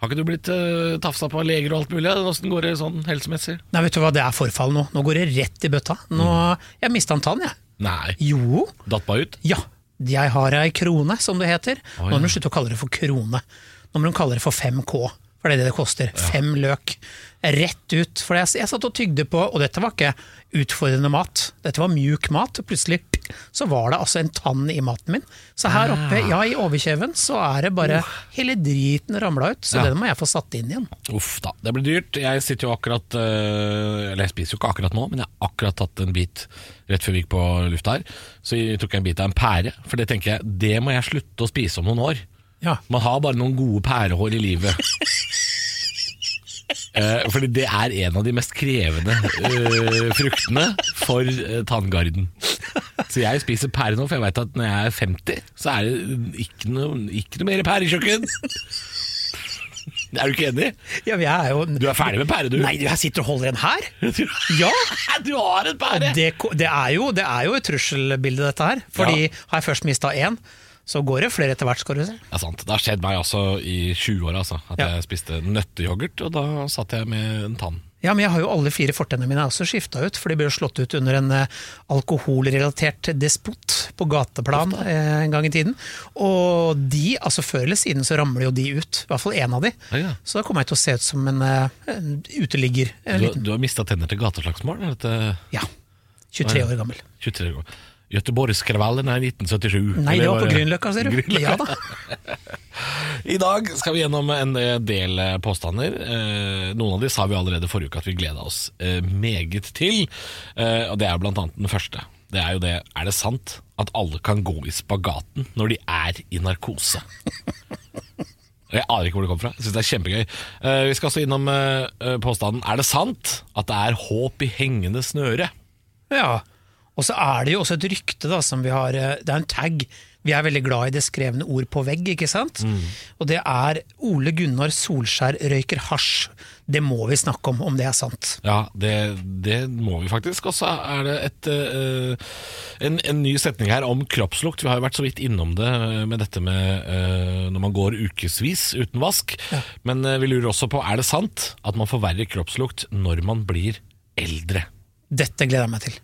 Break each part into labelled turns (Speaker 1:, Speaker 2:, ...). Speaker 1: Har ikke du blitt uh, tafsa på av leger og alt mulig? Åssen går det sånn helsemessig?
Speaker 2: Nei, vet du hva, det er forfall nå. Nå går det rett i bøtta. Nå, jeg mista en tann, jeg.
Speaker 1: Nei.
Speaker 2: Jo.
Speaker 1: Datt bare ut?
Speaker 2: Ja. Jeg har ei krone, som det heter.
Speaker 1: Å,
Speaker 2: Nå må
Speaker 1: ja.
Speaker 2: de slutte å kalle det for krone. Nå må de kalle det for 5K. For det er det det koster. Fem løk. Rett ut. For jeg, jeg satt og tygde på, og dette var ikke utfordrende mat. Dette var mjuk mat. og Plutselig pk, så var det altså en tann i maten min. Så her oppe,
Speaker 1: Ah.
Speaker 2: ja, i overkjeven, så er det bare hele driten ramla ut. Så
Speaker 1: Ja.
Speaker 2: den må jeg få satt inn igjen.
Speaker 1: Uff da, det blir dyrt. Jeg sitter jo akkurat eh, Eller jeg spiser jo ikke akkurat nå, men jeg har akkurat tatt en bit rett før vi gikk på lufta her. Så jeg tok jeg en bit av en pære, for det tenker jeg, det må jeg slutte å spise om noen år.
Speaker 2: Ja.
Speaker 1: Man har bare noen gode pærehår i livet. Eh, fordi det er en av de mest krevende eh, fruktene for eh, tanngarden. Så jeg spiser pære nå, for jeg veit at når jeg er 50, så er det ikke noe, ikke noe mer pærekjøkken. Er du ikke enig?
Speaker 2: ja, men jeg er jo
Speaker 1: Du er ferdig med pære, du.
Speaker 2: Nei, du, jeg sitter og holder en her. Ja!
Speaker 1: Du har en pære!
Speaker 2: Det, ko- det, er jo, det er jo et trusselbilde, dette her. Fordi
Speaker 1: Ja.
Speaker 2: har jeg først mista én, så går det flere etter hvert, skal du se.
Speaker 1: Det er sant. Det har skjedd meg også i 20-åra, altså. At
Speaker 2: Ja.
Speaker 1: jeg spiste nøtteyoghurt, og da satt jeg med en tann.
Speaker 2: Ja, men jeg har jo alle fire fortennene mine også skifta ut, for de ble jo slått ut under en eh, alkoholrelatert despot på gateplan eh, en gang i tiden. Og de, altså før eller siden, så ramler jo de ut. I hvert fall én av de.
Speaker 1: Ja, ja.
Speaker 2: Så da kommer jeg til å se ut som en, eh, en uteligger. En
Speaker 1: Du,
Speaker 2: liten,
Speaker 1: du har mista tenner til gateslagsmål? er dette-
Speaker 2: ja. 23 år gammel.
Speaker 1: 23 år. Göteborgskravallen er 1977.
Speaker 2: Nei,
Speaker 1: Eller
Speaker 2: det var på
Speaker 1: det-
Speaker 2: Grünerløkka, ser du.
Speaker 1: Grünerløkka.
Speaker 2: Ja da.
Speaker 1: I dag skal vi gjennom en del eh, påstander. Eh, Noen av de sa vi allerede forrige uke at vi gleda oss eh, meget til. Eh, Og Det er blant annet den første. Det er jo det Er det sant at alle kan gå i spagaten når de er i narkose? Og Jeg aner ikke hvor det kom fra. Jeg synes det er kjempegøy. Eh, Vi skal også innom eh, eh, påstanden Er det sant at det er håp i hengende snøre?
Speaker 2: Ja, og så er det jo også et rykte da, som vi har, eh, det er en tag. Vi er veldig glad i det skrevne ord på vegg, ikke sant? Og det er Ole Gunnar Solskjær røyker hasj. Det må vi snakke om, om det er sant.
Speaker 1: Ja, det, det må vi faktisk. Og så er det et, eh, en, en ny setning her om kroppslukt. Vi har jo vært så vidt innom det eh, med dette med eh, når man går ukevis uten vask. Men eh, vi lurer også på er det sant at man forverrer kroppslukt når man blir eldre.
Speaker 2: Dette gleder jeg meg til.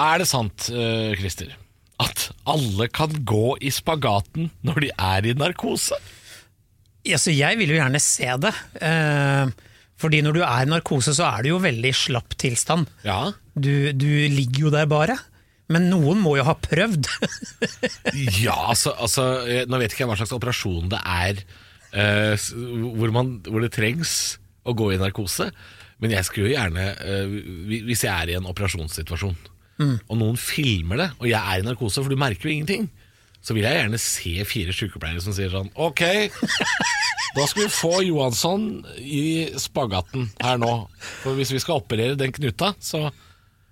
Speaker 1: Er det sant, eh, Christer, at alle kan gå i spagaten når de er i narkose?
Speaker 2: Ja, så jeg vil jo gjerne se det. Eh, fordi når du er i narkose, så er du jo veldig i slapp tilstand.
Speaker 1: Ja.
Speaker 2: Du, du ligger jo der bare. Men noen må jo ha prøvd.
Speaker 1: Ja, altså, altså eh, Nå vet ikke jeg hva slags operasjon det er eh, s- hvor, man, hvor det trengs å gå i narkose. Men jeg skulle jo gjerne eh, hvi- Hvis jeg er i en operasjonssituasjon,
Speaker 2: Mm.
Speaker 1: og noen filmer det, og jeg er i narkose, for du merker jo ingenting, så vil jeg gjerne se fire sykepleiere som sier sånn Ok, da skal vi få Johansson i spagaten her nå. For hvis vi skal operere den knuta, så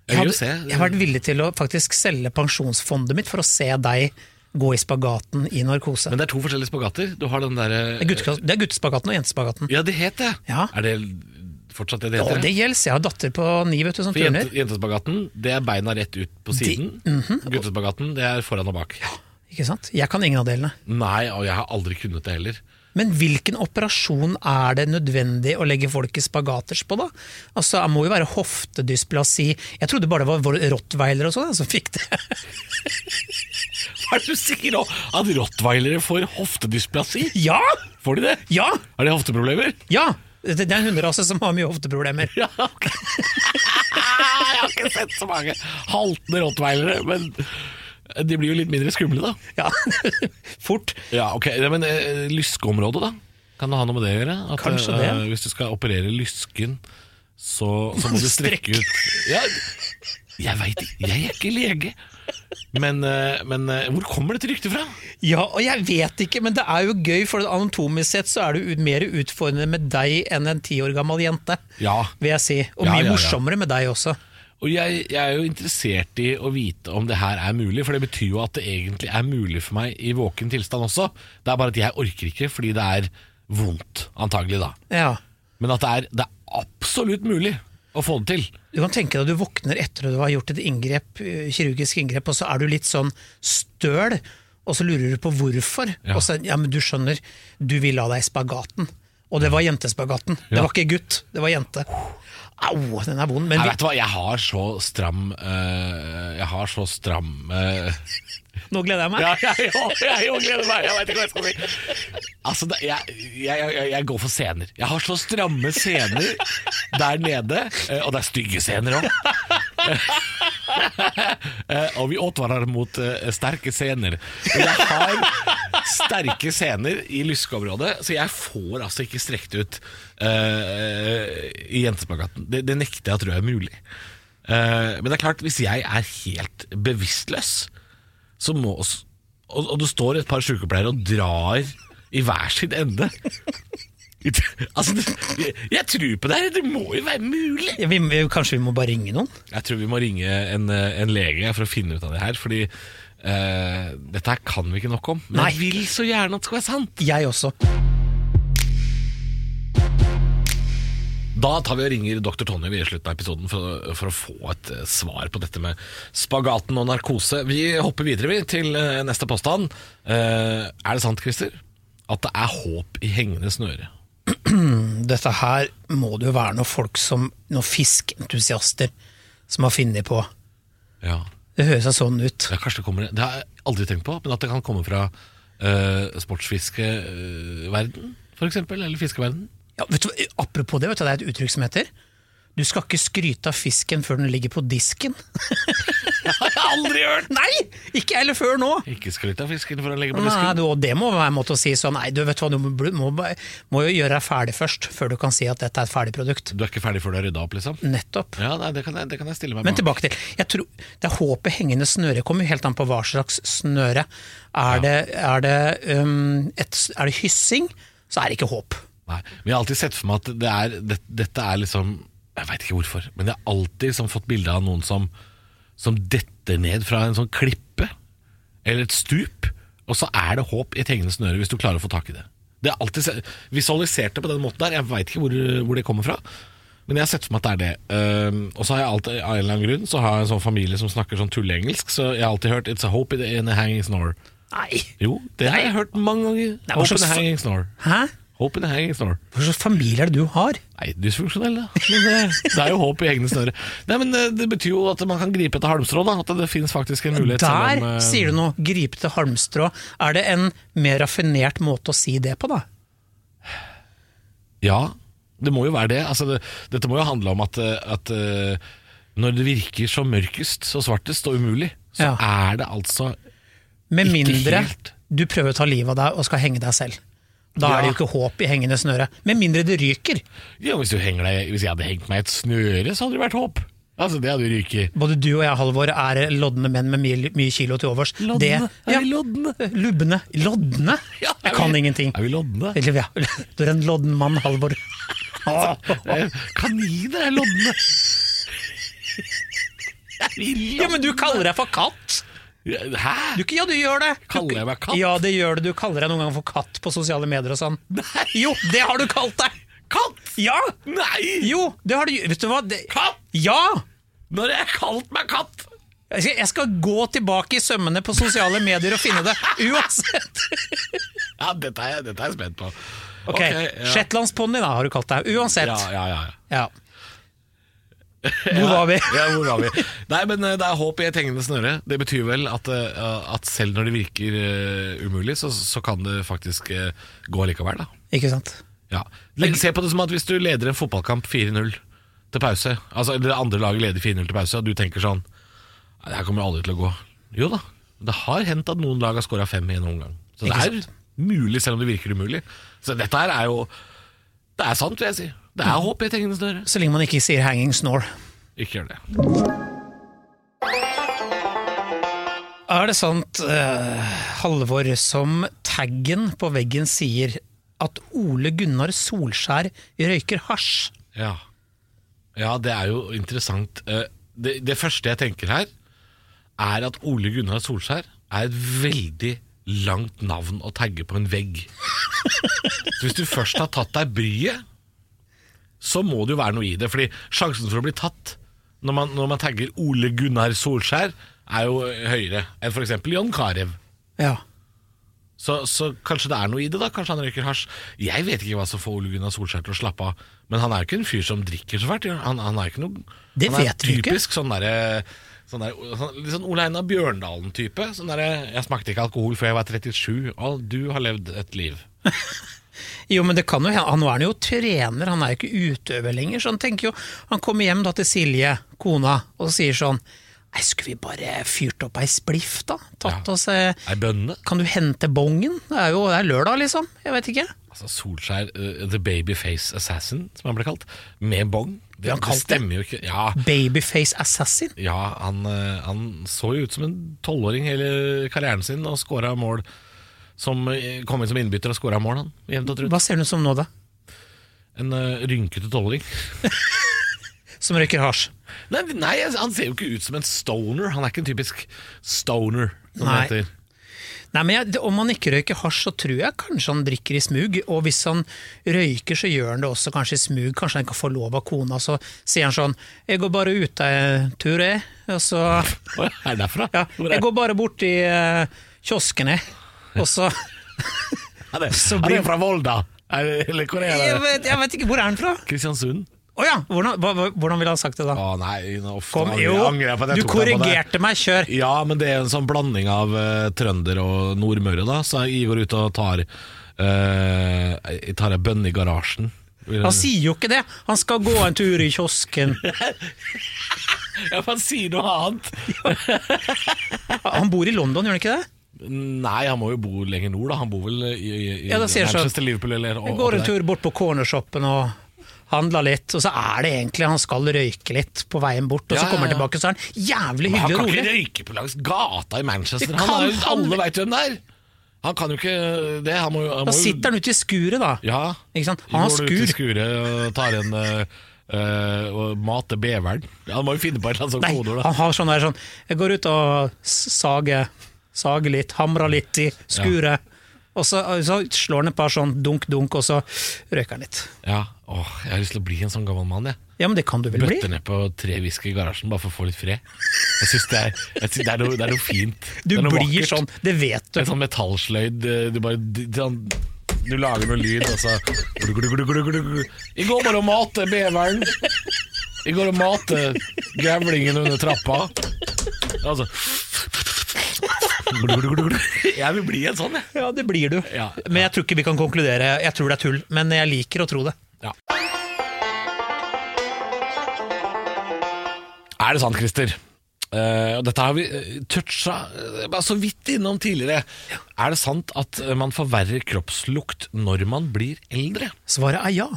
Speaker 1: Jeg vil jo
Speaker 2: hadde-
Speaker 1: se.
Speaker 2: jeg har vært villig til å faktisk selge pensjonsfondet mitt for å se deg gå i spagaten i narkose.
Speaker 1: Men det er to forskjellige spagater. Du har den derre
Speaker 2: Det er gutte- det er guttespagaten og jentespagaten.
Speaker 1: Ja, det het det.
Speaker 2: Ja.
Speaker 1: Er det fortsatt det det
Speaker 2: Og
Speaker 1: heter?
Speaker 2: det gjelder. Jeg har datter på ni vet du, som
Speaker 1: For jente,
Speaker 2: turner.
Speaker 1: jentespagaten, det er beina rett ut på siden. Guttespagaten, det er foran og bak.
Speaker 2: Ikke sant? Jeg kan ingen av delene.
Speaker 1: Nei, og jeg har aldri kunnet det heller.
Speaker 2: Men hvilken operasjon er det nødvendig å legge folk i spagaters på, da? Altså, Det må jo være hoftedysplasi. Jeg trodde bare det var vår- rottweiler og sånn jeg, som fikk det.
Speaker 1: Er du sikker nå at rottweilere får hoftedysplasi?
Speaker 2: Ja!
Speaker 1: Får de det?
Speaker 2: Ja!
Speaker 1: Har de hofteproblemer?
Speaker 2: ja! Det det er en hunderase som har mye hofteproblemer.
Speaker 1: Ja, ok. jeg har ikke sett så mange haltende rottweilere, men de blir jo litt mindre skumle, da.
Speaker 2: Ja, Fort.
Speaker 1: Ja, ok. Ja, men eh, lyskeområdet, da? Kan det ha noe med det å gjøre? At,
Speaker 2: Kanskje det.
Speaker 1: eh, hvis du skal operere lysken, så, så må du strekke
Speaker 2: Strekk.
Speaker 1: ut ja, Jeg veit Jeg er ikke lege. Men, eh, men eh, hvor kommer dette ryktet fra?
Speaker 2: Ja, og jeg vet ikke, men det er jo gøy, for anatomisk sett så er det jo mer utfordrende med deg enn en ti år gammel jente,
Speaker 1: Ja.
Speaker 2: vil jeg si. Og
Speaker 1: Ja,
Speaker 2: mye
Speaker 1: ja, ja.
Speaker 2: morsommere med deg også.
Speaker 1: Og jeg, jeg er jo interessert i å vite om det her er mulig, for det betyr jo at det egentlig er mulig for meg i våken tilstand også. Det er bare at jeg orker ikke, fordi det er vondt, antagelig da.
Speaker 2: Ja.
Speaker 1: Men at det er, det er absolutt mulig å få det til.
Speaker 2: Du kan tenke deg at du våkner etter at du har gjort et inngrep, eh, kirurgisk inngrep, og så er du litt sånn støl, og så lurer du på hvorfor.
Speaker 1: Ja.
Speaker 2: Og så, ja, men du skjønner, du vil ha deg i spagaten. Og det var jentespagaten. Det
Speaker 1: Ja.
Speaker 2: var ikke gutt, det var jente. Au, den er vond. Men
Speaker 1: Jeg
Speaker 2: vi,
Speaker 1: vet du hva, jeg har så stram eh, Jeg har så stram eh,
Speaker 2: nå gleder jeg meg.
Speaker 1: Ja, jeg òg gleder meg. Jeg vet ikke hva jeg skal si. Altså, det, jeg, jeg, jeg, jeg går for scener. Jeg har så stramme scener der nede, eh, og det er stygge scener òg. og vi advarer mot eh, sterke scener. Men jeg har sterke scener i lyskeområdet, så jeg får altså ikke strekt ut eh, i jentespagaten. Det, det nekter jeg å tro er mulig. Eh, men det er klart, hvis jeg er helt bevisstløs, så må oss og, og det står et par sykepleiere og drar i hver sin ende. altså, det, jeg, jeg tror på det her, det må jo være mulig.
Speaker 2: Ja, vi, vi, kanskje vi må bare ringe noen?
Speaker 1: Jeg tror vi må ringe en, eh, en lege for å finne ut av det her, fordi eh, dette her kan vi ikke nok om. Men
Speaker 2: Nei.
Speaker 1: jeg vil så gjerne at det skal være sant.
Speaker 2: Jeg også.
Speaker 1: Da tar vi og ringer dr. Tonje ved slutten av episoden for, å- for å få et eh, svar på dette med spagaten og narkose. Vi hopper videre vi, til eh, neste påstand. Eh, er det sant, Christer, at det er håp i hengende snøre?
Speaker 2: Dette her må det jo være noen folk som Noen fiskentusiaster som har funnet på.
Speaker 1: Ja.
Speaker 2: Det høres da sånn ut.
Speaker 1: Ja, kanskje det kommer Det har jeg aldri tenkt på, men at det kan komme fra uh, sportsfiskeverden, for eksempel, eller fiskeverden.
Speaker 2: Ja, vet du, hva, apropos det, vet du, hva det er et uttrykk som heter Du skal ikke skryte av fisken før den ligger på disken.
Speaker 1: Har jeg aldri hørt!
Speaker 2: Nei! Ikke heller før nå!
Speaker 1: Ikke skryt av fisken for å legge på
Speaker 2: Nei,
Speaker 1: disken.
Speaker 2: du, og det må være en måte å si sånn Nei, du vet hva, du må, må, må jo gjøre deg ferdig først, før du kan si at dette er et ferdig produkt.
Speaker 1: Du er ikke ferdig før du har rydda opp, liksom?
Speaker 2: Nettopp.
Speaker 1: Ja, nei, det kan jeg, det kan jeg stille meg
Speaker 2: Men
Speaker 1: bak.
Speaker 2: tilbake til jeg tror, Det er håpet hengende snøre kommer jo helt an på hva slags snøre. Er, det, er, det, um, et, er det hyssing, så er det ikke håp.
Speaker 1: Nei, men jeg har alltid sett for meg at det er, det, dette er liksom Jeg veit ikke hvorfor, men jeg har alltid liksom fått bilde av noen som, som detter ned fra en sånn klippe eller et stup, og så er det håp i et hengende snøre hvis du klarer å få tak i det. Det er alltid se- Visualisert det på den måten der, jeg veit ikke hvor, hvor det kommer fra. Men jeg har sett for meg at det er det. Ehm, og så har jeg alltid, av en eller annen grunn Så har jeg en sånn familie som snakker sånn tulleengelsk, så jeg har alltid hørt 'It's a hope in the- in a hanging snore'.
Speaker 2: Nei!
Speaker 1: Jo, det har jeg hørt mange ganger.
Speaker 2: Nei, hva
Speaker 1: Hope in a
Speaker 2: slags fa-
Speaker 1: hanging snore.
Speaker 2: Hæ?
Speaker 1: Hope in a hanging snore.
Speaker 2: Hva slags familie er det du har?
Speaker 1: Nei, dysfunksjonell, da. Men det, det er jo håp i egne snøre. Nei, men eh, Det betyr jo at man kan gripe etter halmstrå, da. At det finnes faktisk en mulighet.
Speaker 2: Der
Speaker 1: selv om, eh,
Speaker 2: sier du noe! Gripe til halmstrå. Er det en mer raffinert måte å si det på, da?
Speaker 1: Ja, det må jo være det. Altså, det dette må jo handle om at, eh, at eh, når det virker så mørkest, så svartest og umulig, så
Speaker 2: Ja.
Speaker 1: er det altså
Speaker 2: Med
Speaker 1: Ikke
Speaker 2: mindre
Speaker 1: helt.
Speaker 2: du prøver å ta livet av deg og skal henge deg selv. Da
Speaker 1: Ja.
Speaker 2: er det jo ikke håp i hengende snøre. Med mindre det ryker.
Speaker 1: ja, hvis, du henger deg, hvis jeg hadde hengt meg i et snøre, så hadde det vært håp. Altså, Det hadde jo ryket.
Speaker 2: Både du og jeg, Halvor, er lodne menn med mye, mye kilo til overs.
Speaker 1: Loddene.
Speaker 2: Det,
Speaker 1: Er vi loddene?
Speaker 2: Lubne. Lodne?
Speaker 1: Ja, er
Speaker 2: jeg kan
Speaker 1: vi-
Speaker 2: ingenting.
Speaker 1: Er vi loddene?
Speaker 2: Eller, ja, du er en lodden mann, Halvor.
Speaker 1: Eh, Kaniner er loddene. Er vi
Speaker 2: Ja, men du kaller deg for katt!
Speaker 1: loddene? Hæ?
Speaker 2: Du, ja, du gjør det! Du-
Speaker 1: Kaller jeg meg katt?
Speaker 2: Ja, det gjør det. Du kaller deg noen ganger for katt på sosiale medier og sånn.
Speaker 1: Nei.
Speaker 2: Jo, det har du kalt deg!
Speaker 1: Katt!
Speaker 2: Ja!
Speaker 1: Nei!
Speaker 2: Jo, det har du Vet du hva? Det,
Speaker 1: Katt!
Speaker 2: ja!
Speaker 1: Når jeg har kalt meg katt!
Speaker 2: Jeg skal, jeg skal gå tilbake i sømmene på sosiale medier og finne det, uansett!
Speaker 1: Ja, dette er, dette er jeg spent på.
Speaker 2: Ok,
Speaker 1: ja.
Speaker 2: Shetlandsponni da, har du kalt deg. Uansett.
Speaker 1: Ja, ja, ja, ja.
Speaker 2: Ja. Hvor var vi?
Speaker 1: Ja, hvor var vi? Nei, men eh, det er håp i et hengende snøre. Det betyr vel at, eh, at selv når det virker eh, umulig, så, så kan det faktisk eh, gå likevel, da.
Speaker 2: Ikke sant?
Speaker 1: Ja. Le- Se på det som at hvis du leder en fotballkamp 4-0 til pause, altså eller det andre laget leder 4-0 til pause, og du tenker sånn Nei, det her kommer aldri til å gå. Jo da, det har hendt at noen lag har skåra fem i en omgang. Så det
Speaker 2: Ikke
Speaker 1: er mulig, selv om det virker umulig. Så dette her er jo Det er sant, vil jeg si. Det er håp i et hengende snøre.
Speaker 2: Så lenge man Mm. ikke sier 'hanging snore'.
Speaker 1: Ikke gjør det.
Speaker 2: Er det sant, eh, Halvor, som taggen på veggen sier at Ole Gunnar Solskjær røyker hasj?
Speaker 1: Ja, ja det er jo interessant. Eh, Det, det første jeg tenker her, er at Ole Gunnar Solskjær er et veldig langt navn å tagge på en vegg. Så hvis du først har tatt deg bryet, så må det jo være noe i det. Fordi sjansen for å bli tatt når man, når man tagger Ole Gunnar Solskjær, er jo høyere enn f.eks. John Carew.
Speaker 2: Ja.
Speaker 1: Så, så kanskje det er noe i det, da. Kanskje han røyker hasj. Jeg vet ikke hva som får Ole Gunnar Solskjær til å slappe av. Men han er jo ikke en fyr som drikker så fælt. gjør Han, han er ikke noe
Speaker 2: Det
Speaker 1: Han er
Speaker 2: vet vi ikke.
Speaker 1: typisk sånn derre Sånn der, sånn, litt sånn Ole Einar Bjørndalen-type. Sånn derre 'Jeg smakte ikke alkohol før jeg var 37'. Å, du har levd et liv.
Speaker 2: Jo, men det kan jo hende. Han er jo trener, han er jo ikke utøver lenger. Så han tenker jo Han kommer hjem da til Silje, kona, og sier sånn Nei, skulle vi bare fyrt opp ei spliff, da? Tatt
Speaker 1: Ja.
Speaker 2: oss eh,
Speaker 1: Ei bønne.
Speaker 2: Kan du hente bongen? Det er jo det er lørdag, liksom. Jeg vet ikke.
Speaker 1: Altså Solskjær, eh, the babyface assassin, som han ble kalt. Med bong. Det,
Speaker 2: Ble han
Speaker 1: det
Speaker 2: kalt det?
Speaker 1: stemmer jo ikke. Ja,
Speaker 2: Babyface assassin.
Speaker 1: Ja, han, eh, han så jo ut som en tolvåring hele karrieren sin og skåra mål. Som eh, kom inn som innbytter og skåra mål, han. Jevnt og trutt.
Speaker 2: Hva ser hun ut som nå, da?
Speaker 1: En eh, rynkete tolvåring.
Speaker 2: Som røyker hasj.
Speaker 1: Nei, nei, altså, han ser jo ikke ut som en stoner. Han er ikke en typisk stoner, som
Speaker 2: Nei.
Speaker 1: det heter.
Speaker 2: Nei, men jeg, Om han ikke røyker hasj, så tror jeg kanskje han drikker i smug. Og hvis han røyker, så gjør han det også kanskje i smug. Kanskje han ikke får lov av kona. Så sier han sånn 'Jeg går bare ut en tur, jeg'. Og så
Speaker 1: Å, er det derfra?
Speaker 2: Ja,
Speaker 1: Hvor er
Speaker 2: jeg går bare bort i eh, kiosken, jeg. Og så
Speaker 1: er det?
Speaker 2: så
Speaker 1: Er
Speaker 2: blir-
Speaker 1: det fra Volda? Er det, eller hvor er
Speaker 2: jeg
Speaker 1: det?
Speaker 2: vet, jeg vet ikke, hvor er han fra?
Speaker 1: Kristiansund?
Speaker 2: Å ja, hvordan, hva, hva- hvordan ville han sagt det da?
Speaker 1: Å nei, nå, uff,
Speaker 2: Kom,
Speaker 1: nå angrer jeg-
Speaker 2: jo,
Speaker 1: Ah, angrer jeg på at jeg
Speaker 2: du
Speaker 1: tok deg på det.
Speaker 2: korrigerte meg, kjør!
Speaker 1: Ja, men det er en sånn blanding av eh, trønder og nordmøre, da. Så jeg går ut og tar eh, Jeg tar ei bønne i garasjen.
Speaker 2: Han sier jo ikke det! Han skal gå en tur i kiosken.
Speaker 1: ja, han sier noe annet!
Speaker 2: Han bor i London, gjør han ikke det?
Speaker 1: Nei, han må jo bo lenger nord, da. Han bor vel i, i, i
Speaker 2: Ja, da sier jeg så.
Speaker 1: Manchester, Liverpool eller
Speaker 2: Jeg
Speaker 1: og-
Speaker 2: går
Speaker 1: og
Speaker 2: en
Speaker 1: der.
Speaker 2: tur bort på cornershoppen og handler litt, og så er det egentlig han skal røyke litt på veien bort, og
Speaker 1: Ja,
Speaker 2: så
Speaker 1: ja,
Speaker 2: kommer han
Speaker 1: ja.
Speaker 2: tilbake, så er han jævlig
Speaker 1: Men Han
Speaker 2: hyggelig
Speaker 1: kan
Speaker 2: og
Speaker 1: ikke
Speaker 2: rolig.
Speaker 1: røyke på langs gata i Manchester.
Speaker 2: Det
Speaker 1: Han
Speaker 2: kan
Speaker 1: er, jo-
Speaker 2: han-
Speaker 1: alle veit hvem det er! Han kan jo ikke det. Han må jo, han
Speaker 2: Da
Speaker 1: må jo
Speaker 2: sitter han ute i skuret, da.
Speaker 1: Ja.
Speaker 2: Ikke sant? Han har
Speaker 1: Går du ut i
Speaker 2: skur.
Speaker 1: skuret og tar en eh, eh, og mater beveren. Han må jo finne på et eller annet sånt
Speaker 2: Nei,
Speaker 1: kodeord, da.
Speaker 2: han har sånn der sånn Jeg går ut og s- sager Sager litt, hamrer litt i skuret. Og så, så slår han et par sånn dunk-dunk, og så røyker han litt.
Speaker 1: Ja, åh, jeg har lyst til å bli en sånn gammel mann, jeg.
Speaker 2: Ja, men det kan du vel bli?
Speaker 1: Bøtter ned på tre whisky i garasjen bare for å få litt fred. Jeg synes det, er, jeg synes det, er, noe, det er noe fint.
Speaker 2: Du
Speaker 1: det er noe
Speaker 2: blir
Speaker 1: vakkert.
Speaker 2: sånn, det vet du.
Speaker 1: En sånn metallsløyd eh, Du bare d- sånn, Du lager noe lyd, og så I går bare og mate beveren. I går og mate grevlingen under trappa. Altså Jeg vil bli en sånn, jeg.
Speaker 2: Ja, det blir du.
Speaker 1: Ja.
Speaker 2: Men jeg tror ikke vi kan konkludere. Jeg tror det er tull, men jeg liker å tro det.
Speaker 1: Ja. Er det sant, Christer? Eh, og dette har vi eh, toucha eh, bare så vidt innom tidligere. Er det sant at eh, man forverrer kroppslukt når man blir eldre?
Speaker 2: Svaret er ja.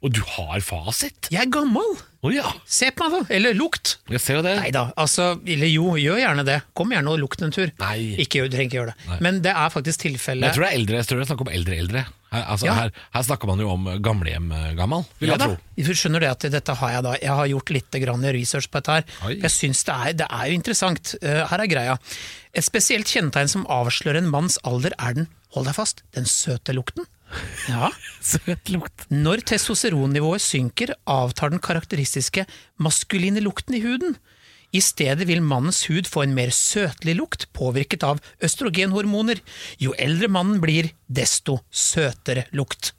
Speaker 1: Og du har fasit!
Speaker 2: Jeg er gammel!
Speaker 1: Å ja!
Speaker 2: Se på meg, da! Eller lukt!
Speaker 1: Jeg ser jo det.
Speaker 2: Nei da, altså, eller jo, gjør gjerne det. Kom gjerne og lukt en tur.
Speaker 1: Nei.
Speaker 2: Ikke, du trenger ikke gjøre det. Men det er faktisk tilfellet.
Speaker 1: Men jeg tror det er eldre, jeg tror det er snakk om eldre eldre. Her, altså,
Speaker 2: Ja.
Speaker 1: her, her snakker man jo om eh, gamlehjem-gammal, vil
Speaker 2: Ja
Speaker 1: jeg
Speaker 2: da.
Speaker 1: tro.
Speaker 2: Du skjønner det at dette har jeg da. Jeg har gjort litt grann research på dette her.
Speaker 1: Oi.
Speaker 2: Jeg synes det er, det er jo interessant. Eh, her er greia. Et spesielt kjennetegn som avslører en manns alder er den, hold deg fast, den søte lukten. Ja.
Speaker 1: Søt lukt.
Speaker 2: Når testosteronnivået synker, avtar den karakteristiske maskuline lukten i huden. I stedet vil mannens hud få en mer søtlig lukt, påvirket av østrogenhormoner. Jo eldre mannen blir, desto søtere lukt.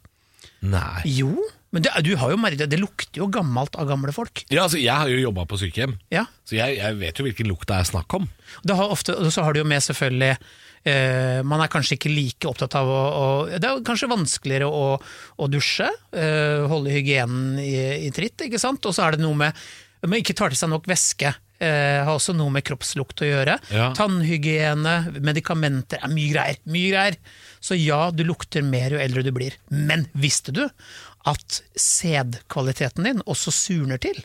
Speaker 1: Nei.
Speaker 2: Jo, men det, du har jo merket det, det lukter jo gammelt av gamle folk.
Speaker 1: Ja, altså, jeg har jo jobba på sykehjem,
Speaker 2: Ja,
Speaker 1: så jeg, jeg vet jo hvilken lukt det er snakk om.
Speaker 2: det har ofte, og Så har du jo med selvfølgelig eh, Man er kanskje ikke like opptatt av å, å Det er jo kanskje vanskeligere å, å dusje, eh, holde hygienen i, i tritt, ikke sant? Og så er det noe med Man ikke tar til seg nok væske. Eh, har også noe med kroppslukt å gjøre.
Speaker 1: Ja.
Speaker 2: Tannhygiene, medikamenter er mye greier. Mye greier. Så ja, du lukter mer jo eldre du blir. Men visste du at sædkvaliteten din også surner til?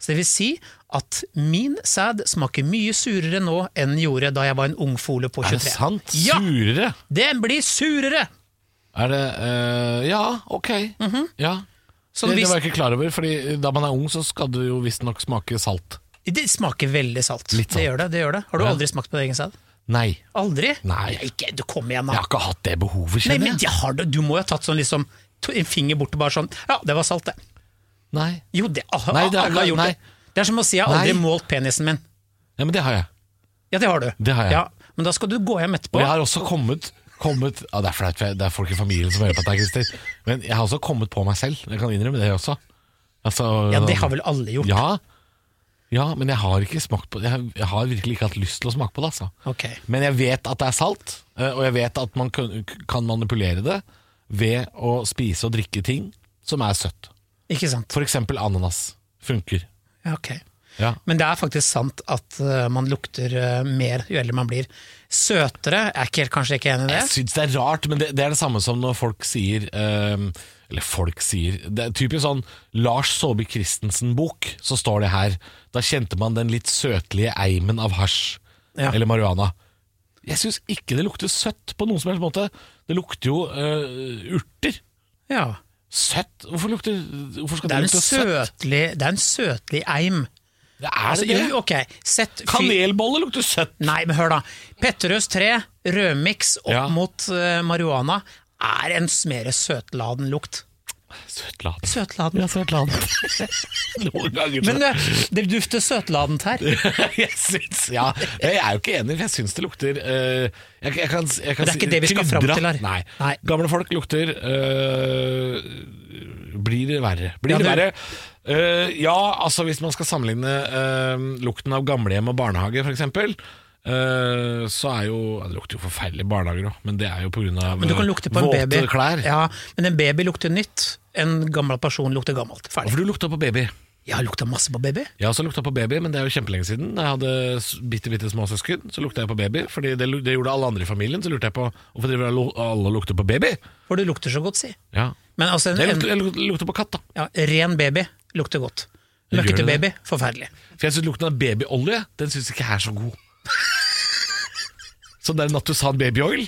Speaker 2: Så det vil si at min sæd smaker mye surere nå enn den gjorde da jeg var en ungfole på 23.
Speaker 1: Er det sant?
Speaker 2: Ja!
Speaker 1: Surere?
Speaker 2: Den blir surere!
Speaker 1: Er det eh, Ja, ok. Ja.
Speaker 2: Så
Speaker 1: det, det
Speaker 2: Mhm. hvis-
Speaker 1: var jeg ikke klar over, Fordi da man er ung, så skal du jo visstnok smake salt.
Speaker 2: Det smaker veldig salt.
Speaker 1: Litt salt.
Speaker 2: Det gjør det, det gjør det. Har du
Speaker 1: Ja.
Speaker 2: aldri smakt på din egen sæd?
Speaker 1: Nei.
Speaker 2: Aldri?
Speaker 1: Nei.
Speaker 2: Ikke, du kom igjen,
Speaker 1: Jeg
Speaker 2: da.
Speaker 1: har ikke hatt det behovet,
Speaker 2: Nei,
Speaker 1: kjenner
Speaker 2: men
Speaker 1: jeg.
Speaker 2: jeg har det. Du må jo ha tatt sånn liksom, to- en finger bort og bare sånn Ja, det var salt, det.
Speaker 1: Nei.
Speaker 2: Jo, det, ah,
Speaker 1: Nei, det er-
Speaker 2: alle har gjort
Speaker 1: nei.
Speaker 2: det. Det er som å si jeg har aldri
Speaker 1: Nei.
Speaker 2: målt penisen min.
Speaker 1: Ja, men det har jeg.
Speaker 2: Ja, det har du.
Speaker 1: Det har jeg.
Speaker 2: Ja, men da skal du gå hjem etterpå.
Speaker 1: Og jeg har også kommet, kommet ja, Det er flaut, for jeg- det er folk i familien som hører på dette, Christer. Men jeg har også kommet på meg selv. Jeg kan innrømme det også. Altså,
Speaker 2: Ja, det har vel alle gjort.
Speaker 1: Ja, ja men jeg har ikke smakt på det. Jeg, jeg har virkelig ikke hatt lyst til å smake på det. Altså.
Speaker 2: Ok.
Speaker 1: Men jeg vet at det er salt, eh, og jeg vet at man kan, kan manipulere det ved å spise og drikke ting som er søtt.
Speaker 2: Ikke sant.
Speaker 1: For eksempel ananas. Funker.
Speaker 2: Ja, ok.
Speaker 1: Ja.
Speaker 2: Men det er faktisk sant at eh, man lukter eh, mer jo eldre man blir. Søtere er ikke, helt- kanskje ikke enig i det?
Speaker 1: Jeg syns det er rart, men det, det er det samme som når folk sier ehm, Eller folk sier Det er typisk sånn Lars Saabye Christensen-bok, så står det her. Da kjente man den litt søtlige eimen av hasj.
Speaker 2: Ja.
Speaker 1: Eller marihuana. Jeg syns ikke det lukter søtt på noen som helst måte. Det lukter jo eh, urter.
Speaker 2: Ja.
Speaker 1: Søtt? Hvorfor, lukter, hvorfor skal
Speaker 2: Det
Speaker 1: det,
Speaker 2: er en
Speaker 1: lukte søtt?
Speaker 2: søtlig, det er en søtlig eim.
Speaker 1: Det er
Speaker 2: Altså,
Speaker 1: det
Speaker 2: jo,
Speaker 1: det?
Speaker 2: ok, sett fyr-
Speaker 1: Kanelbolle lukter søtt.
Speaker 2: Nei, men hør da. Petterøes 3, rødmiks opp
Speaker 1: Ja.
Speaker 2: mot eh, marihuana, er en s- mer søtladen lukt.
Speaker 1: Søtladen.
Speaker 2: Søtladen.
Speaker 1: Noen ganger
Speaker 2: Men eh, det dufter søtladent her.
Speaker 1: jeg syns Ja, jeg er jo ikke enig, for jeg syns det lukter eh, jeg, jeg kan, jeg kan
Speaker 2: Men det er ikke
Speaker 1: si-
Speaker 2: det vi skal fram
Speaker 1: krydra.
Speaker 2: til her.
Speaker 1: Nei.
Speaker 2: Nei.
Speaker 1: Gamle folk lukter eh, Blir det verre. Blir
Speaker 2: Ja,
Speaker 1: det verre.
Speaker 2: det-
Speaker 1: Eh, ja, altså hvis man skal sammenligne eh, lukten av gamlehjem og barnehage, f.eks. Uh, så er jo ja, Det lukter jo forferdelig i barnehager òg, men det er jo pga.
Speaker 2: Men du kan lukte på en
Speaker 1: våte
Speaker 2: baby.
Speaker 1: klær.
Speaker 2: Ja, men en baby lukter nytt. En gammel person lukter gammelt. Ferdig.
Speaker 1: For du lukta på baby.
Speaker 2: Jeg har lukta masse på baby.
Speaker 1: Jeg har også lukta på baby, men det er jo kjempelenge siden. Da jeg hadde s- bitte, bitte små søsken, så lukta jeg på baby. Fordi det, lu- det gjorde alle andre i familien. Så lurte jeg på hvorfor driver alle alle og lukter på baby.
Speaker 2: For du lukter så godt, si.
Speaker 1: Ja.
Speaker 2: Men altså, en,
Speaker 1: Jeg
Speaker 2: en
Speaker 1: lukter, jeg luk- lukter på katt, da.
Speaker 2: ja, ren baby lukter godt.
Speaker 1: Gjør
Speaker 2: Møkkete
Speaker 1: det det?
Speaker 2: baby, forferdelig.
Speaker 1: For jeg syns lukten av babyolje, den syns ikke jeg er så god. Sånn der Natusan babyoil.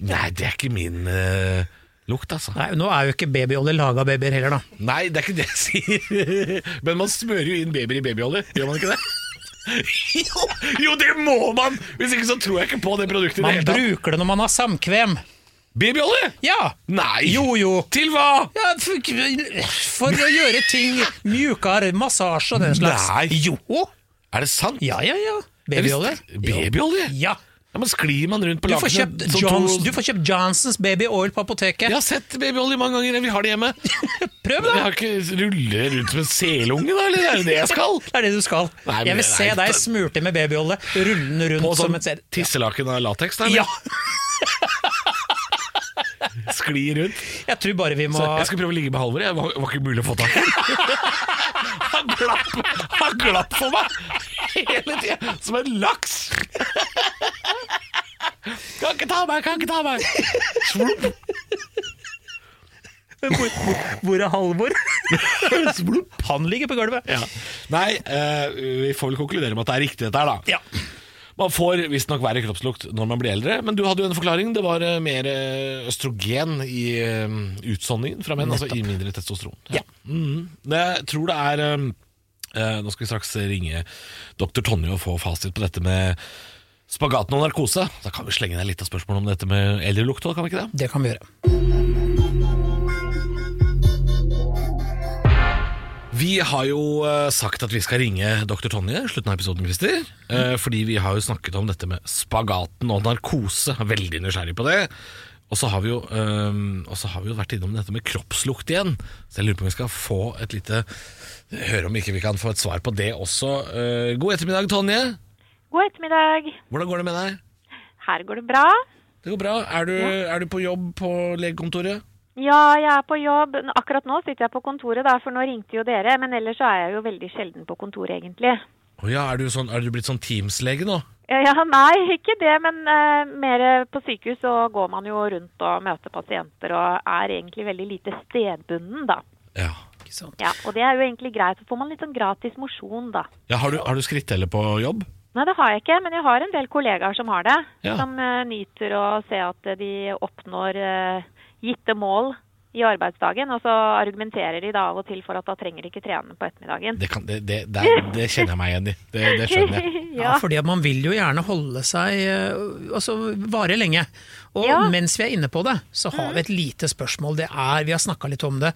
Speaker 1: Nei, det er ikke min eh, lukt, altså.
Speaker 2: Nei, Nå er jo ikke babyolje laga av babyer heller, da.
Speaker 1: Nei, det er ikke det jeg sier. Men man smører jo inn babyer i babyolje, gjør man ikke det? Jo, jo, det må man! Hvis ikke så tror jeg ikke på det produktet. i
Speaker 2: Man
Speaker 1: det hele tatt.
Speaker 2: bruker det når man har samkvem.
Speaker 1: Babyolje?
Speaker 2: Ja!
Speaker 1: Nei!
Speaker 2: Jo, jo.
Speaker 1: Til hva?
Speaker 2: Ja, for, for å gjøre ting mjukere, massasje og den slags.
Speaker 1: Nei.
Speaker 2: Jo!
Speaker 1: Er det sant?
Speaker 2: Ja, ja, ja.
Speaker 1: Jeg
Speaker 2: Babyolje.
Speaker 1: visste- Babyolje?
Speaker 2: Ja.
Speaker 1: Ja, men sklir man rundt på
Speaker 2: Du får, kjøpt
Speaker 1: som
Speaker 2: Johns,
Speaker 1: to-
Speaker 2: du får kjøpt Johnsons Baby Oil på apoteket.
Speaker 1: Jeg har sett babyolje mange ganger, vi har det hjemme.
Speaker 2: Prøv,
Speaker 1: Jeg
Speaker 2: da!
Speaker 1: har ikke rulle rundt som en selunge, da, eller er det det jeg skal?
Speaker 2: Det er det du skal.
Speaker 1: Nei, men
Speaker 2: jeg vil
Speaker 1: det er
Speaker 2: se
Speaker 1: ikke-
Speaker 2: deg smurt i med babyolje, rullende
Speaker 1: På
Speaker 2: rundt
Speaker 1: sånn
Speaker 2: som et sel.
Speaker 1: tisselaken av lateks, da?
Speaker 2: Ja,
Speaker 1: Skli rundt.
Speaker 2: jeg tror bare vi må
Speaker 1: Så jeg skal prøve å ligge med Halvor, jeg var, var ikke mulig å få tak i. Han glapp, han glapp for meg hele tida, som en laks. Kan ikke ta meg, kan ikke ta meg. Svulp.
Speaker 2: Hvor, hvor er Halvor? Han ligger på gulvet.
Speaker 1: Ja. Nei, eh, vi får vel konkludere med at det er riktig dette her, da.
Speaker 2: Ja.
Speaker 1: Man får visstnok verre kroppslukt når man blir eldre, men du hadde jo en forklaring. Det var eh, mer eh, østrogen i eh, utsonningen fra menn, altså i mindre testosteron.
Speaker 2: Ja.
Speaker 1: Mhm. Men Jeg tror det er eh, eh, Nå skal vi straks ringe dr. Tonje og få fasit på dette med spagaten og narkose. Da kan vi slenge ned litt av spørsmålet om dette med eldrelukt òg, kan vi ikke det?
Speaker 2: Det kan vi gjøre.
Speaker 1: Vi har jo eh, sagt at vi skal ringe dr. Tonje i slutten av episoden, Christer. Eh, Fordi vi har jo snakket om dette med spagaten og narkose. Jeg er Veldig nysgjerrig på det. Og så har vi jo, eh, og så har vi jo vært innom dette med kroppslukt igjen. Så jeg lurer på om vi skal få et lite Høre om ikke vi kan få et svar på det også. Eh, God ettermiddag, Tonje.
Speaker 3: God ettermiddag.
Speaker 1: Hvordan går det med deg?
Speaker 3: Her går det bra.
Speaker 1: Det går bra. Er du, er du på jobb på legekontoret?
Speaker 3: Ja, jeg er på jobb. N- Akkurat nå sitter jeg på kontoret, da, for nå ringte jo dere. Men ellers så er jeg jo veldig sjelden på kontoret, egentlig.
Speaker 1: Å ja, er du, sånn, er du blitt sånn Teams-lege nå?
Speaker 3: Ja, ja, nei, ikke det, men eh, mer eh, på sykehus så går man jo rundt og møter pasienter og er egentlig veldig lite stedbunden, da.
Speaker 1: Ja.
Speaker 2: Ikke sant?
Speaker 3: Ja, og det er jo egentlig greit, så får man litt sånn gratis mosjon da.
Speaker 1: Ja, har, du, har du skritteller på jobb?
Speaker 3: Nei, det har jeg ikke, men jeg har en del kollegaer som har det.
Speaker 1: Ja.
Speaker 3: Som eh, nyter å se at eh, de oppnår eh, gitte mål i arbeidsdagen. Og så argumenterer de da av og til for at da trenger de ikke trene på ettermiddagen.
Speaker 1: Det, kan, det, det, det, er- det kjenner jeg meg igjen i. Det, det skjønner jeg.
Speaker 3: ja.
Speaker 2: Ja, fordi at man vil jo gjerne holde seg eh, Altså vare lenge. Og
Speaker 3: Ja. Mm.
Speaker 2: mens vi er inne på det, så har vi et lite spørsmål. Det er, Vi har snakka litt om det.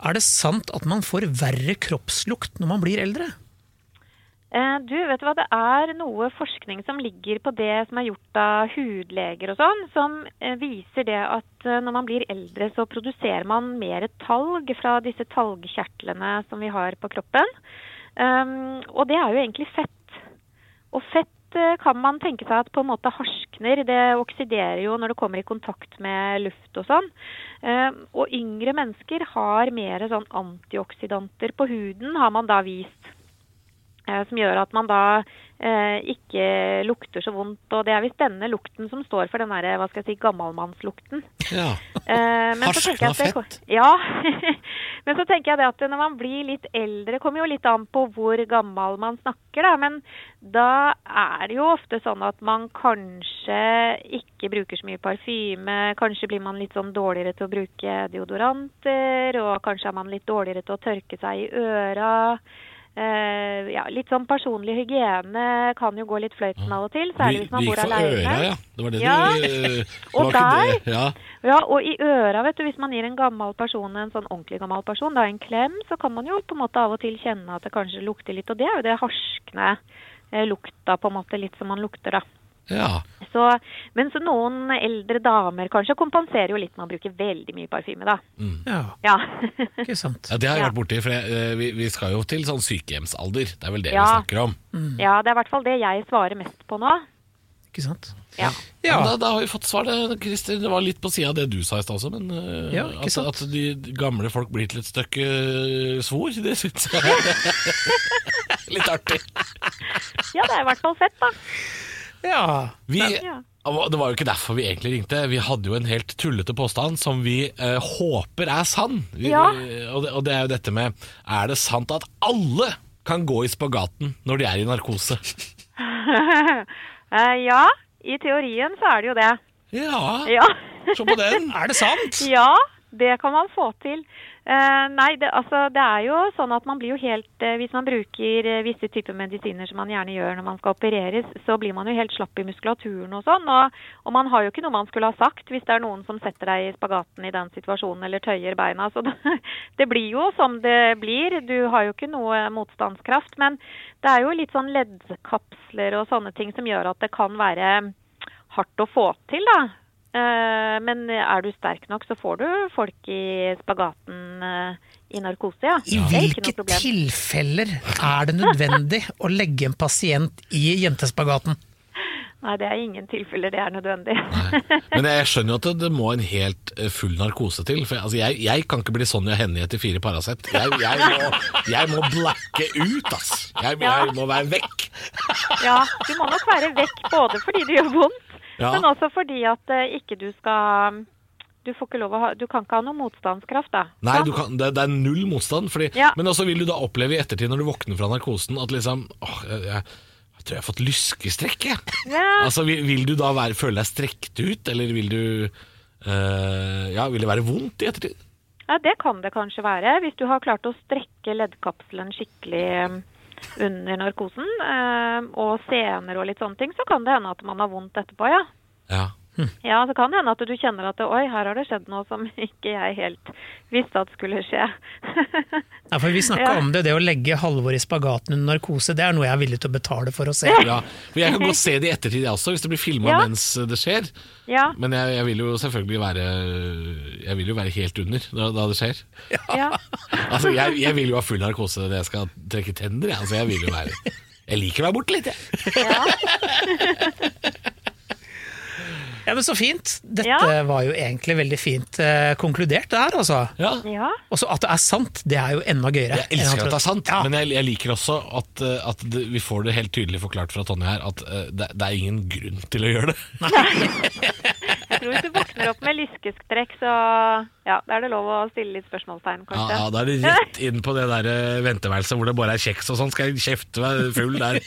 Speaker 2: Er det sant at man får verre kroppslukt når man blir eldre?
Speaker 3: Eh, Du, vet du hva, det er noe forskning som ligger på det som er gjort av hudleger og sånn, som eh, viser det at eh, når man blir eldre, så produserer man mer talg fra disse talgkjertlene som vi har på kroppen. Um, og det er jo egentlig fett. Og fett eh, kan man tenke seg at på en måte harskner. Det oksiderer jo når det kommer i kontakt med luft og sånn. Eh, Og yngre mennesker har mer sånn antioksidanter på huden, har man da vist. eh, Som gjør at man da eh, ikke lukter så vondt. Og det er visst denne lukten som står for den derre, hva skal jeg si, gammalmannslukten.
Speaker 1: Ja.
Speaker 3: Eh, men så
Speaker 1: Harskna
Speaker 3: tenker jeg at det,
Speaker 1: fett.
Speaker 3: Ja. men så tenker jeg det at når man blir litt eldre, det kommer jo litt an på hvor gammel man snakker, da. Men da er det jo ofte sånn at man kanskje ikke bruker så mye parfyme. Kanskje blir man litt sånn dårligere til å bruke deodoranter, og kanskje er man litt dårligere til å tørke seg i øra. Eh, ja, litt sånn personlig hygiene kan jo gå litt fløyten av og til, særlig hvis man bor aleine.
Speaker 1: øra, ja. Det var det
Speaker 3: Ja.
Speaker 1: du eh, det
Speaker 3: Og
Speaker 1: var ikke det- Ja.
Speaker 3: Ja, og i øra, vet du, hvis man gir en gammel person, en sånn ordentlig gammel person, da en klem, så kan man jo på en måte av og til kjenne at det kanskje lukter litt, og det er jo det harskende eh, lukta, på en måte, litt som man lukter, da.
Speaker 1: ja.
Speaker 3: Så, mens noen eldre damer kanskje kompenserer jo litt med å bruke veldig mye parfyme, da.
Speaker 2: Ja,
Speaker 3: Ja.
Speaker 2: ikke sant.
Speaker 1: ja det har jeg
Speaker 3: Ja.
Speaker 1: vært borti, for jeg, eh, vi, vi skal jo til sånn sykehjemsalder. Det er vel det vi
Speaker 3: Ja.
Speaker 1: snakker om.
Speaker 3: ja, det er i hvert fall det jeg svarer mest på nå.
Speaker 2: Ikke sant?
Speaker 3: Ja.
Speaker 1: Ja.
Speaker 2: Ja,
Speaker 1: Da, da har vi fått svar, det, Christer. Det var litt på sida av det du sa i stad også, men eh,
Speaker 2: Ja, ikke
Speaker 1: at,
Speaker 2: sant?
Speaker 1: at de gamle folk blir til et stykke eh, svor, det syns jeg er litt artig.
Speaker 3: ja, det er i hvert fall fett, da.
Speaker 2: ja.
Speaker 1: Vi,
Speaker 3: Ja.
Speaker 1: Det var jo ikke derfor vi egentlig ringte. Vi hadde jo en helt tullete påstand som vi eh, håper er sann. Vi,
Speaker 3: Ja.
Speaker 1: og, det, og det er jo dette med Er det sant at alle kan gå i spagaten når de er i narkose?
Speaker 3: Eh, ja, i teorien så er det jo det.
Speaker 1: Ja,
Speaker 3: Ja.
Speaker 1: se på den!
Speaker 2: Er det sant?
Speaker 3: Ja, det kan man få til. Eh, nei, det, altså, det er jo sånn at man blir jo helt eh, Hvis man bruker eh, visse typer medisiner som man gjerne gjør når man skal opereres, så blir man jo helt slapp i muskulaturen og sånn. Og, og man har jo ikke noe man skulle ha sagt hvis det er noen som setter deg i spagaten i den situasjonen eller tøyer beina. Så det, det blir jo som det blir. Du har jo ikke noe motstandskraft. Men det er jo litt sånn leddkapsler og sånne ting som gjør at det kan være hardt å få til, da. Eh, Men er du sterk nok, så får du folk i spagaten eh, i narkose, ja.
Speaker 2: I
Speaker 3: Det er ikke
Speaker 2: hvilke
Speaker 3: noe problem.
Speaker 2: tilfeller er det nødvendig å legge en pasient i jentespagaten?
Speaker 3: Nei, det er ingen tilfeller det er nødvendig.
Speaker 1: Men jeg skjønner jo at det, det må en helt eh, full narkose til. For jeg, altså, jeg, jeg kan ikke bli Sonja Hennie etter fire Paracet. Jeg, jeg, må- jeg må blacke ut, ass. Jeg, jeg må være vekk.
Speaker 3: Ja, du må nok være vekk både fordi det gjør vondt,
Speaker 1: Ja.
Speaker 3: men også fordi at eh, ikke du skal Du får ikke lov å ha Du kan ikke ha noe motstandskraft, da.
Speaker 1: Nei,
Speaker 3: Sant?
Speaker 1: du kan, det, det er null motstand. Fordi,
Speaker 3: Ja.
Speaker 1: Men også vil du da oppleve i ettertid, når du våkner fra narkosen, at liksom åh, jeg, jeg, jeg tror jeg har fått lyskestrekk, jeg.
Speaker 3: Ja.
Speaker 1: Altså, vil, vil du da være, føle deg strekt ut, eller vil du eh, Ja, vil det være vondt i ettertid?
Speaker 3: Ja, det kan det kanskje være, hvis du har klart å strekke leddkapselen skikkelig eh, under narkosen, eh, og sener og litt sånne ting, så kan det hende at man har vondt etterpå, ja.
Speaker 1: Ja.
Speaker 3: Ja, så kan det hende at du kjenner at oi, her har det skjedd noe som ikke jeg helt visste at skulle skje.
Speaker 2: Ja, for Vi snakka
Speaker 3: Ja.
Speaker 2: om det, det å legge Halvor i spagaten under narkose, det er noe jeg er villig til å betale for å se.
Speaker 1: Ja, for Jeg kan godt se det i ettertid jeg også, hvis det blir filma
Speaker 3: Ja.
Speaker 1: mens det skjer.
Speaker 3: ja,
Speaker 1: Men jeg, jeg vil jo selvfølgelig være Jeg vil jo være helt under da, da det skjer.
Speaker 3: ja.
Speaker 1: Altså, jeg, jeg vil jo ha full narkose når jeg skal trekke tenner. Jeg. Altså, jeg vil jo være Jeg liker å være borte litt, jeg.
Speaker 2: Ja, men Så fint! Dette
Speaker 3: Ja.
Speaker 2: var jo egentlig veldig fint eh, konkludert der, altså.
Speaker 1: Ja.
Speaker 3: ja.
Speaker 2: Og så at det er sant, det er jo enda gøyere.
Speaker 1: Jeg elsker
Speaker 2: enn
Speaker 1: at det er sant,
Speaker 2: Ja.
Speaker 1: men jeg, jeg liker også at, eh, at det, vi får det helt tydelig forklart fra Tonje her at eh, det, det er ingen grunn til å gjøre det.
Speaker 3: jeg tror hvis du våkner opp med lyskeskrekk, så ja, da er det lov å stille litt spørsmålstegn,
Speaker 1: Ja,
Speaker 3: kanskje.
Speaker 1: ja, da er det rett inn på det der eh, venteværelset hvor det bare er kjeks og sånn. Skal jeg kjefte meg full der?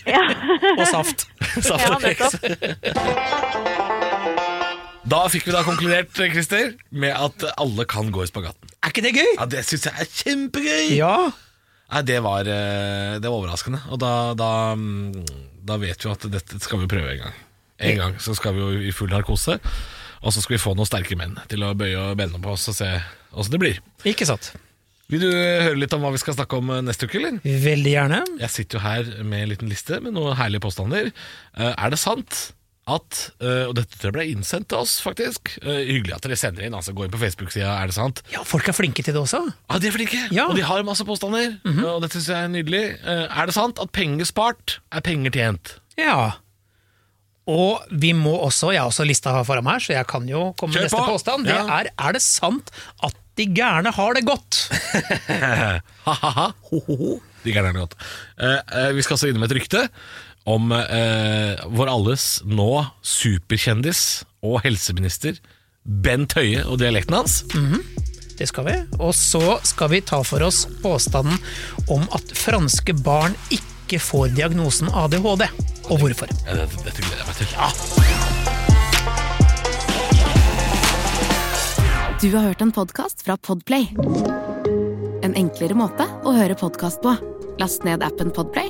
Speaker 2: Og saft.
Speaker 1: Saft
Speaker 3: Ja,
Speaker 1: og kjeks. Da fikk vi da konkludert, eh, Christer, med at alle kan gå i spagaten.
Speaker 2: Er ikke det gøy?
Speaker 1: Ja, Det syns jeg er kjempegøy!
Speaker 2: Ja.
Speaker 1: Nei, det var, eh, det var overraskende. Og da, da, mm, da vet vi at dette skal vi prøve en gang. En gang så skal vi jo i full narkose, og så skal vi få noen sterke menn til å bøye og bende på oss og se åssen det blir.
Speaker 2: Ikke sant.
Speaker 1: Vil du eh, høre litt om hva vi skal snakke om eh, neste uke, eller?
Speaker 2: Veldig gjerne.
Speaker 1: Jeg sitter jo her med en liten liste med noen herlige påstander. Eh, er det sant at eh, Og dette tror jeg ble innsendt til oss, faktisk. Eh, hyggelig at dere sender inn. altså Gå inn på Facebook-sida, er det sant?
Speaker 2: Ja, folk er flinke til det også.
Speaker 1: Ja, de er flinke!
Speaker 2: Ja.
Speaker 1: Og de har masse påstander. Og dette syns jeg er nydelig. Eh, er det sant at penger spart er penger tjent?
Speaker 2: Ja. Og vi må også, jeg har også lista foran meg, her, så jeg kan jo komme
Speaker 1: Kjør
Speaker 2: med neste
Speaker 1: på!
Speaker 2: påstand. Det
Speaker 1: Ja.
Speaker 2: er er det sant at de gærne har det godt?
Speaker 1: Ha-ha-ha. De gærne er det godt. Eh, eh, vi skal også innom et rykte om eh, vår alles nå superkjendis og helseminister Bent Høie og dialekten hans.
Speaker 2: Det skal vi. Og så skal vi ta for oss påstanden om at franske barn ikke får diagnosen ADHD. Og hvorfor.
Speaker 1: Ja, dette, dette gleder jeg meg til.
Speaker 4: Du har hørt en podcast fra Podplay En enklere måte å høre podcast på Last ned appen Podplay